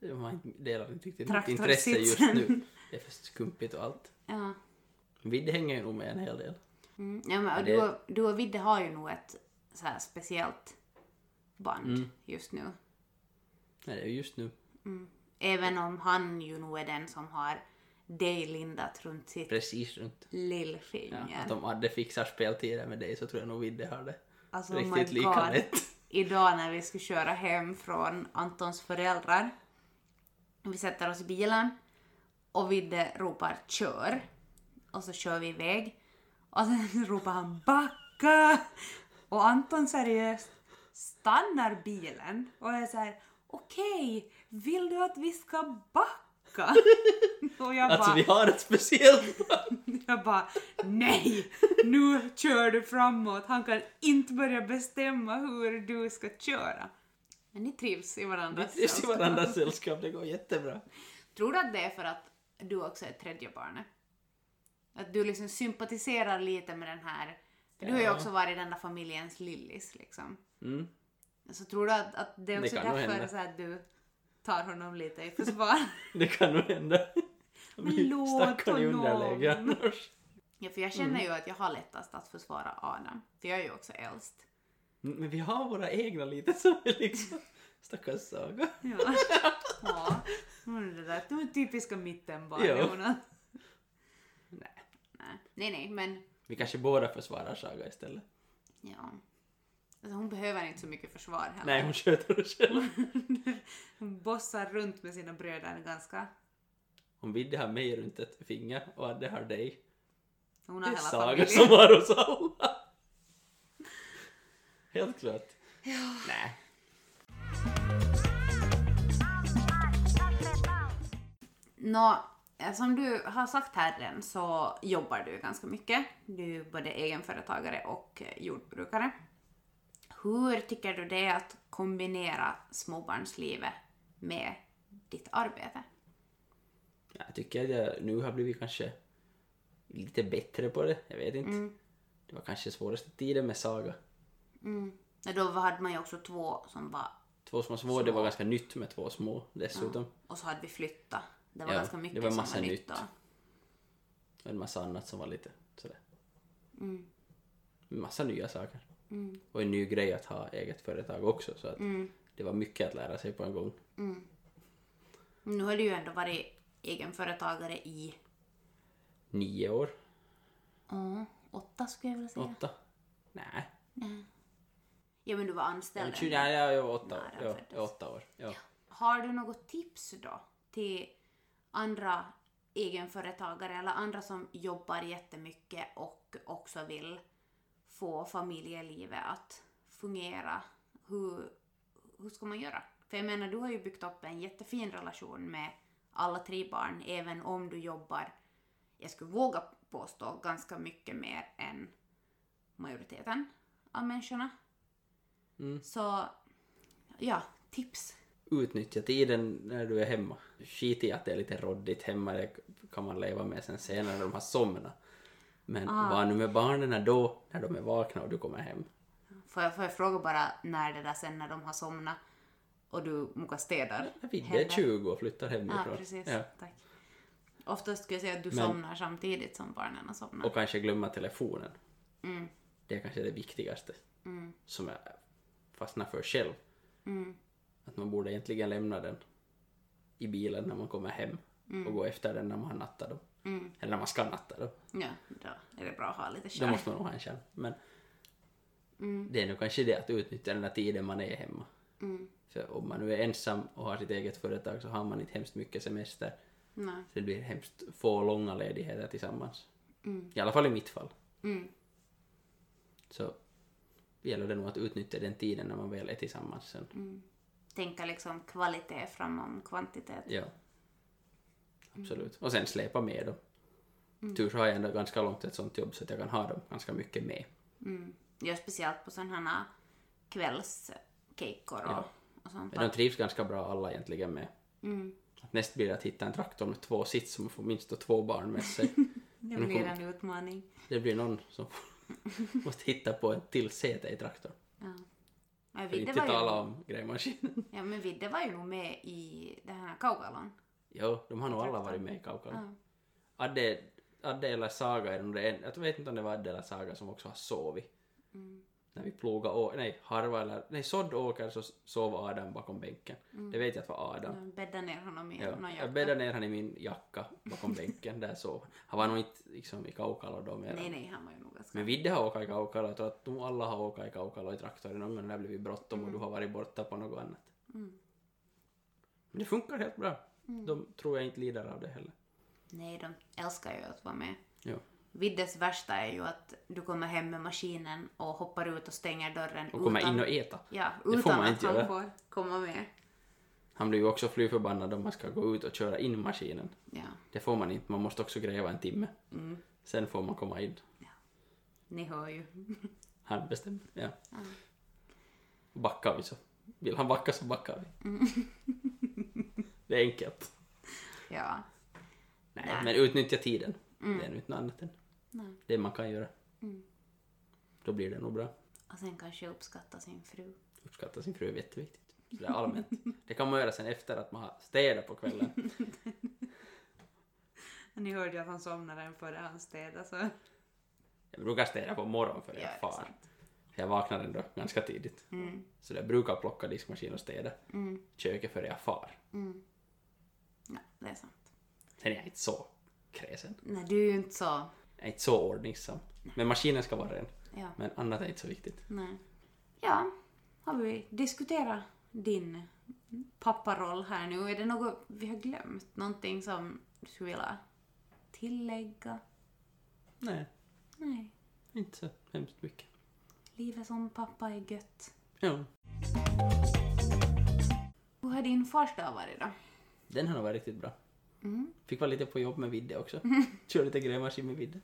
S2: De har inte- delar inte riktigt mitt
S1: Traktorsitsen.
S2: intresse just nu. Det är för skumpigt och allt.
S1: Ja.
S2: Vidde hänger ju nog med en hel del.
S1: Mm. ja men, och
S2: det-
S1: du, och, du och Vidde har ju nog ett så här speciellt band
S2: Mm.
S1: just nu.
S2: Nej, det är ju just nu.
S1: Även om han ju nog är den som har dig lindat runt sitt
S2: Precis runt. Ja,
S1: lillfinger.
S2: att om Adde fixar speltiden med dig så tror jag nog Vidde har det
S1: alltså oh my
S2: riktigt lika
S1: god.
S2: lätt.
S1: Idag när vi skulle köra hem från Antons föräldrar. Vi sätter oss i bilen och Vidde ropar kör. Och så kör vi iväg. Och sen ropar han backa! Och Anton seriöst stannar bilen och är så här okej, vill du att vi ska backa? Och jag
S2: Alltså
S1: bara,
S2: vi har ett speciellt band.
S1: Jag bara nej, nu kör du framåt. Han kan inte börja bestämma hur du ska köra. Men ni trivs i varandras
S2: Det är i
S1: sällskap.
S2: varandras sällskap, det går jättebra.
S1: Tror du att det är för att du också är tredje barnet? Att du liksom sympatiserar lite med den här... För du har ju
S2: Ja.
S1: också varit den där familjens lillis liksom.
S2: Mm.
S1: Så tror du att, att det är
S2: Det
S1: också
S2: kan nog
S1: därför
S2: hända.
S1: så här att du tar honom lite i försvar?
S2: Det kan nog hända.
S1: Men låt
S2: Stackarn i
S1: honom.
S2: underläge annars.
S1: Ja, för jag känner
S2: Mm.
S1: ju att jag har lättast att försvara Adam, för jag är ju också äldst.
S2: Mm, Men vi har våra egna lite så vi liksom... Stackars Saga.
S1: Ja. ja. Men det där, du är typiska mittenbarn,
S2: Ja.
S1: Jonas.
S2: Nej.
S1: Nej. nej, nej, men
S2: Vi kanske båda försvarar Saga istället.
S1: ja. Alltså, hon behöver inte så mycket försvar heller.
S2: Nej, hon sköter det själv.
S1: Hon bossar runt med sina bröder ganska.
S2: Om Vidde har mig runt ett finger och Adde har dig.
S1: Hon
S2: Det
S1: har
S2: är
S1: hela
S2: Saga
S1: familjen.
S2: som har oss alla. Helt klart. Ja. Nej.
S1: Nå, eh, som du har sagt här redan så jobbar du ganska mycket. Du är både egenföretagare och eh, jordbrukare. Hur tycker du det är att kombinera småbarnslivet med ditt arbete?
S2: Jag tycker att jag nu har blivit kanske lite bättre på det. Jag vet inte. Det var kanske svåraste tiden med Saga.
S1: Mm. Ja, Då hade man ju också två som var...
S2: Två små små, det var ganska nytt med två små dessutom.
S1: Och så hade vi flyttat. Det var
S2: Ja,
S1: ganska mycket
S2: det var massa
S1: som var
S2: nytt.
S1: nytt. då.
S2: Och en massa annat som var lite sådär.
S1: Mm,
S2: Massa nya saker. Och en ny grej att ha eget företag också så att
S1: mm,
S2: det var mycket att lära sig på en gång.
S1: Nu har du ju ändå varit egenföretagare i
S2: Nio år?
S1: ja, åtta skulle jag vilja säga.
S2: Åtta? Nej.
S1: Ja men du var anställd.
S2: Tjugo?
S1: ändå.
S2: Nej, jag är åtta år.
S1: Nära
S2: Ja,
S1: föddes.
S2: jag är åtta år. Ja.
S1: Har du något tips då till andra egenföretagare eller andra som jobbar jättemycket och också vill få familjelivet att fungera? Hur, hur ska man göra? För jag menar, du har ju byggt upp en jättefin relation med alla tre barn, även om du jobbar, jag skulle våga påstå, ganska mycket mer än majoriteten av människorna.
S2: Mm.
S1: Så, ja, tips.
S2: Utnyttja tiden när du är hemma. Skit i att det är lite råddigt hemma, det kan man leva med sen senare när de har somnat. Men
S1: Ah.
S2: var nu med barnen här då, när de är vakna och du kommer hem.
S1: Får jag, får jag fråga bara när det där sen när de har somnat och du mokar städar?
S2: Vidde är
S1: händer?
S2: 20 och flyttar hemifrån.
S1: Ja, Ah, precis.
S2: Ja.
S1: Tack. Oftast skulle jag säga att du
S2: Men-
S1: somnar samtidigt som barnen har somnat.
S2: Och kanske glömma telefonen.
S1: Mm.
S2: Det är kanske det viktigaste
S1: Mm.
S2: som jag fastnar för själv.
S1: Mm.
S2: Att man borde egentligen lämna den i bilen när man kommer hem och gå efter den när man har nattat dem.
S1: Mm.
S2: Eller när man ska natta dem.
S1: Ja, då är det bra att ha lite
S2: Då
S1: skärm.
S2: måste man nog ha en skärm. Men det är nog kanske det att utnyttja den där tiden man är hemma.
S1: Mm.
S2: För om man nu är ensam och har sitt eget företag så har man inte hemskt mycket semester.
S1: Nej.
S2: Så det blir hemskt få långa ledigheter tillsammans.
S1: Mm.
S2: I alla fall i mitt fall.
S1: Mm.
S2: Så gäller det nog att utnyttja den tiden när man väl är tillsammans sen.
S1: Tänka liksom kvalitet framom kvantitet.
S2: Ja. Absolut. Och sen släpa med dem. Tur så har jag ändå ganska långt ett sånt jobb så att jag kan ha dem ganska mycket med.
S1: Mm. Ja, speciellt på sådana här kvällskejkor och,
S2: Ja.
S1: och sånt.
S2: Men de trivs ganska bra alla egentligen med.
S1: Mm.
S2: Att näst blir det att hitta en traktor med två sits som får minst då två barn med sig.
S1: Det
S2: de
S1: blir
S2: kommer-
S1: en utmaning.
S2: Det blir någon som måste hitta på ett till säte i traktorn.
S1: Ja. Ja,
S2: För
S1: Vidde
S2: inte
S1: var ju-
S2: tala om grävmaskinen.
S1: Ja men Vidde var ju nog med i den här Kaukalon.
S2: Jo, de har nog alla varit med i Kaukalu.
S1: Ja.
S2: Adde, Adde eller Saga är nog det en, jag vet inte om det var Adde eller Saga som också har sovit.
S1: Mm.
S2: När vi plogade å, nej, harva eller, nej, sådd åker så sov Adam bakom bänken.
S1: Mm.
S2: Det vet jag att var Adam.
S1: De bäddade ner honom i
S2: Ja,
S1: någon jacka.
S2: jag bäddade ner han i min jacka bakom bänken, där sov han. Han var nog inte liksom i Kaukalo då mer.
S1: Nej nej, han var ju nog ganska...
S2: Men Vidde har åkt i Kaukalo, jag tror att de alla har åkt i Kaukalo i traktorn någon gång, det har blivit bråttom och du har varit borta på något annat.
S1: Mm.
S2: Men det funkar helt bra. De tror jag inte lider av det heller.
S1: Nej, de älskar ju att vara med.
S2: Ja.
S1: Viddes värsta är ju att du kommer hem med maskinen och hoppar ut och stänger dörren
S2: Och kommer in och äta.
S1: Ja,
S2: får
S1: utan
S2: man
S1: att
S2: inte
S1: han
S2: göra.
S1: får komma med.
S2: Han blir ju också fly förbannad om man ska gå ut och köra in maskinen.
S1: Ja,
S2: Det får man inte, man måste också gräva en timme.
S1: Mm.
S2: Sen får man komma in.
S1: ni hör ju.
S2: Han bestämmer. Ja. Backar vi så. Vill han backa så backar vi.
S1: Mm.
S2: det är enkelt.
S1: Ja.
S2: Nej,
S1: Nej. Mm.
S2: Men utnyttja tiden. Det är nu inte något annat än
S1: Nej. Mm.
S2: det man kan göra. Då blir det nog bra.
S1: Och sen kanske uppskatta sin fru.
S2: Uppskatta sin fru är jätteviktigt. Så det är allmänt. det kan man göra sen efter att man har städat på kvällen.
S1: Ni hörde ju att han somnade redan före alltså. han städade så...
S2: Jag brukar städa på morgonen för jag
S1: det är
S2: fan.
S1: sant.
S2: Jag vaknar ändå ganska tidigt.
S1: Mm.
S2: Så jag brukar plocka diskmaskin och städa köket före jag far.
S1: Mm. Ja, det är sant.
S2: Sen är jag inte så kräsen.
S1: Nej, du är ju inte så...
S2: Jag är inte så ordningsam. Men maskinen ska vara ren.
S1: Ja.
S2: Men annat är inte så viktigt.
S1: Nej. Ja, har vi diskuterat din papparoll här nu? Är det något vi har glömt? Någonting som du skulle vilja tillägga?
S2: Nej,
S1: Nej.
S2: inte så hemskt mycket.
S1: Livet som pappa är gött.
S2: Ja.
S1: Hur har din fars dag varit då?
S2: Den har nog varit riktigt bra.
S1: Mm.
S2: Fick vara lite på jobb med Vidde också. Kör lite grävmaskin med Vidde.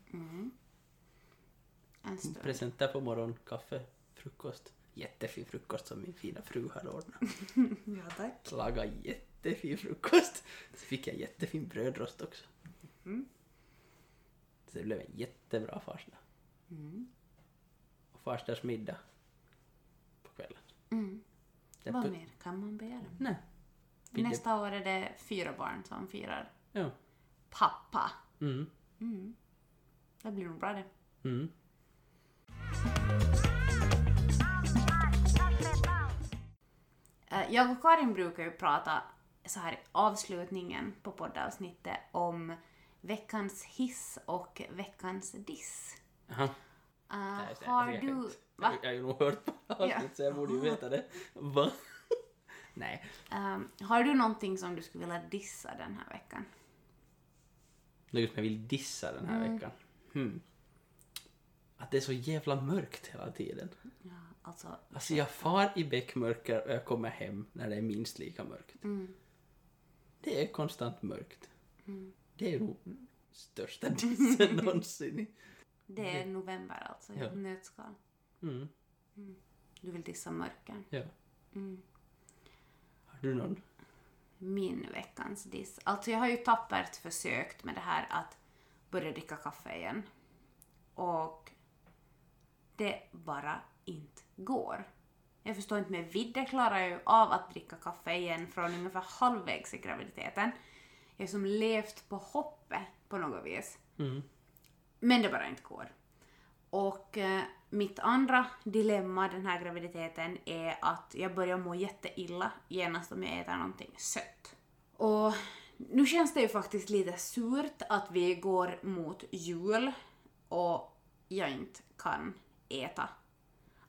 S1: En stund.
S2: Presenter på morgon, kaffe, frukost. Jättefin frukost som min fina fru har ordnat.
S1: Ja, tack.
S2: Laga jättefin frukost. Så fick jag jättefin brödrost också.
S1: Mm.
S2: Så det blev en jättebra farsdag.
S1: Mm.
S2: Och farsdags middag på kvällen.
S1: Mm.
S2: Den
S1: Vad
S2: pu-
S1: mer kan man begära?
S2: Nej. Vidde-
S1: Nästa år är det fyra barn som firar
S2: Ja.
S1: pappa.
S2: Mm.
S1: Det blir nog bra det.
S2: Mm.
S1: Eh, Jag och Karin brukar ju prata så här i avslutningen på poddavsnittet om veckans hiss och veckans diss.
S2: Aha.
S1: Eh,
S2: Nej, just det.
S1: har
S2: Jag kan
S1: du...
S2: inte- Jag
S1: Va?
S2: jag har ju nog hört på avsnitt så jag borde ju veta det. Va? Nej.
S1: Ehm, har du någonting som du skulle vilja dissa den här veckan?
S2: Något som jag vill dissa den här
S1: Mm.
S2: veckan. Hmm. Att det är så jävla mörkt hela tiden.
S1: Ja, alltså,
S2: Alltså jag far i bäckmörker och jag kommer hem när det är minst lika mörkt.
S1: Mm.
S2: Det är konstant mörkt. Det är nog största dissen någonsin.
S1: det är november alltså, i
S2: Mm. Ja.
S1: ett nötskal.
S2: Mm.
S1: Du vill dissa mörker.
S2: Ja.
S1: Mm.
S2: Har du någon?
S1: Min veckans diss. Alltså jag har ju tappert försökt med det här att börja dricka kaffe igen. Och det bara inte går. Jag förstår inte, men Vidde klarar ju av att dricka kaffe igen från ungefär halvvägs i graviditeten. Jag har som levt på hoppet på något vis.
S2: Mm.
S1: Men det bara inte går. Och eh, mitt andra dilemma den här graviditeten är att jag börjar må jätteilla genast om jag äter någonting sött. Och nu känns det ju faktiskt lite surt att vi går mot jul och jag inte kan äta.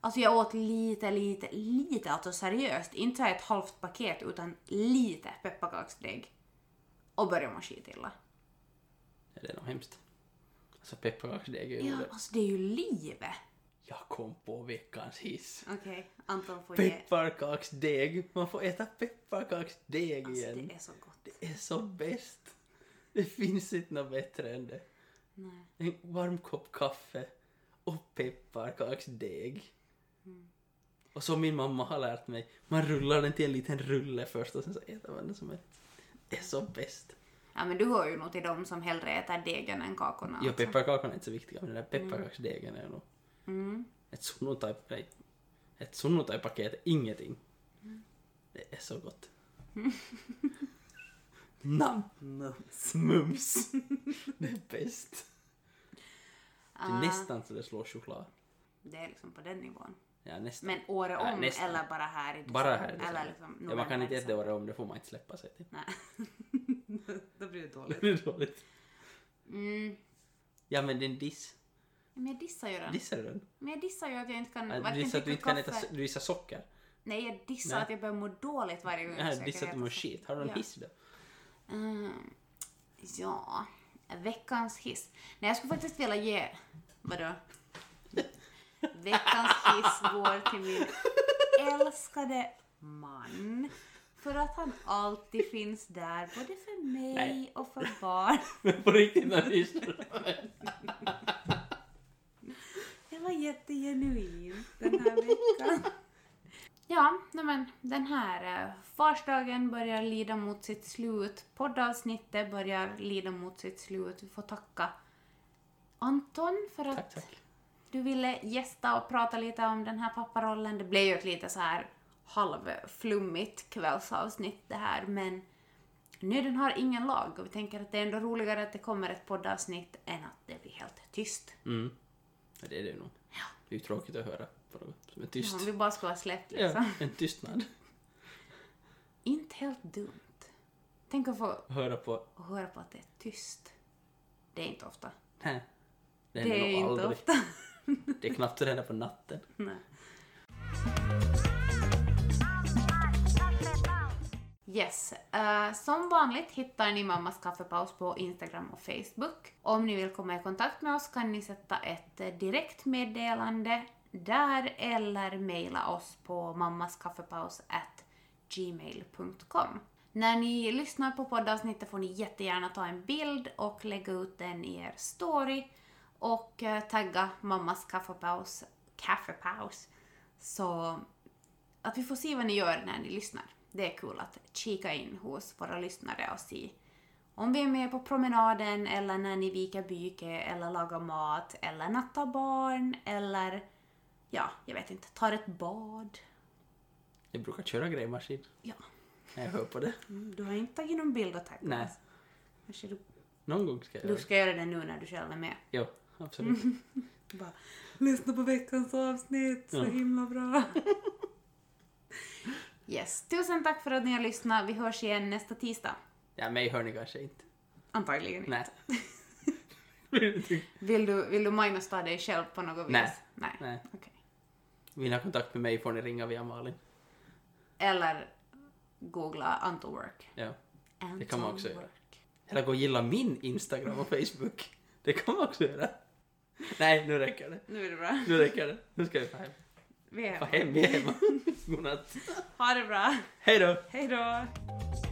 S1: Alltså jag åt lite, lite, lite, alltså seriöst, inte så här ett halvt paket utan lite pepparkaksdeg och började må skitilla.
S2: Ja, Det är nog hemskt. Alltså pepparkaksdeg är ju
S1: Ja,
S2: det.
S1: alltså det är ju livet!
S2: Jag kom på veckans hiss.
S1: Okej, Anton får ge.
S2: Pepparkaksdeg! Man får äta pepparkaksdeg
S1: Alltså,
S2: igen.
S1: det är så gott.
S2: Det är så bäst. Det finns inte något bättre än det.
S1: Nej.
S2: En varm kopp kaffe och pepparkaksdeg. Och som min mamma har lärt mig, man rullar den till en liten rulle först och sen så äter man den som ett... Det är så bäst.
S1: Ja, men du hör ju nog till dem som hellre äter degen än kakorna.
S2: Ja,
S1: alltså.
S2: pepparkakorna är inte så viktiga, men den där
S1: Mm.
S2: pepparkaksdegen är nog... Ett sunnotai... Nej. Ett sunnotai-paket är ingenting.
S1: Mm.
S2: Det är så gott. Nam! Mums! Det är bäst. Det
S1: Ah.
S2: är nästan så det slår choklad.
S1: Det är liksom på den nivån.
S2: Ja, nästan.
S1: Men året
S2: Ja,
S1: om
S2: nästan.
S1: eller bara här i december?
S2: Bara här i
S1: Eller
S2: december.
S1: liksom
S2: ja, Man kan inte äta det
S1: november,
S2: året om, det får man inte släppa sig till.
S1: december. Nej. Då blir det dåligt.
S2: Det är dåligt.
S1: liksom. Mm.
S2: Ja, men det är en diss.
S1: Men jag dissar ju den.
S2: Dissar du den?
S1: Men jag dissar ju att jag inte kan
S2: Ja, Du
S1: varken
S2: dissar att du inte
S1: dricka
S2: kan
S1: kaffe...
S2: äta... so- Du dissar socker.
S1: Nej, jag dissar
S2: Nej.
S1: att jag börjar må dåligt varje gång jag
S2: Ja,
S1: försöker
S2: dissar att du
S1: äta
S2: mår
S1: så-
S2: skit. Har du någon
S1: Ja.
S2: hiss då?
S1: Mm, ja, veckans hiss. Nej, jag skulle faktiskt vilja ge... Vadå? Veckans hiss går till min älskade man. För att han alltid finns där, både för mig
S2: Nej.
S1: och för barn.
S2: Men på riktigt, när hissar du?
S1: Det var jättegenuint den här veckan. Ja, nej men den här eh, farsdagen börjar lida mot sitt slut. Poddavsnittet börjar lida mot sitt slut. Vi får tacka Anton för att
S2: Tack, tack.
S1: du ville gästa och prata lite om den här papparollen. Det blev ju ett lite så här halvflummigt kvällsavsnitt det här, men Nöden har ingen lag och vi tänker att det är ändå roligare att det kommer ett poddavsnitt än att det blir helt tyst.
S2: Mm. Ja, det är det ju nog. Det är ju tråkigt att höra på något som är tyst.
S1: Om vi bara skulle ha släppt liksom.
S2: Ja, en tystnad.
S1: Inte helt dumt. Tänk att få
S2: Höra på...
S1: höra på att det är tyst. Det är inte ofta.
S2: Nej.
S1: Det
S2: Det händer
S1: är
S2: nog
S1: inte
S2: aldrig.
S1: ofta.
S2: Det är knappt att det händer på natten.
S1: Nej. Yes, eh, som vanligt hittar ni Mammas kaffepaus på Instagram och Facebook. Om ni vill komma i kontakt med oss kan ni sätta ett eh, direktmeddelande där eller mejla oss på mammaskaffepaus@gmail.com. När ni lyssnar på poddavsnittet får ni jättegärna ta en bild och lägga ut den i er story och eh, tagga mammas kaffepaus, kaffepaus, så att vi får se vad ni gör när ni lyssnar. Det är kul att kika in hos våra lyssnare och se om vi är med på promenaden eller när ni viker byke eller lagar mat eller nattar barn eller ja, jag vet inte, tar ett bad.
S2: Jag brukar köra grävmaskin
S1: Ja,
S2: när jag hör på det.
S1: mm, du har inte tagit någon bild och taggat
S2: Nej.
S1: oss. Kanske du,
S2: Någon gång ska jag göra
S1: du
S2: det.
S1: ska göra det nu när du själv är med.
S2: Ja, absolut.
S1: Bara, lyssna på veckans avsnitt, så
S2: Ja.
S1: himla bra. yes, tusen tack för att ni har lyssnat. Vi hörs igen nästa tisdag.
S2: Ja, mig hör ni kanske inte.
S1: Antagligen inte.
S2: Nej.
S1: Vill du, vill du minasta dig själv på något vis?
S2: Nej.
S1: Nej.
S2: Nej.
S1: Okej.
S2: Vill ni ha kontakt med mig får ni ringa via Malin.
S1: Eller googla Anto Work.
S2: Ja.
S1: Anto
S2: Det kan man också göra.
S1: Work.
S2: Eller gå och gilla min Instagram och Facebook. Det kan man också göra. Nej, nu räcker det.
S1: Nu är det bra.
S2: Nu räcker det. Nu ska vi få hem.
S1: Vi är
S2: Få
S1: hemma.
S2: hem, vi är hemma. Godnatt.
S1: Ha det bra.
S2: Hej då!
S1: Hej då.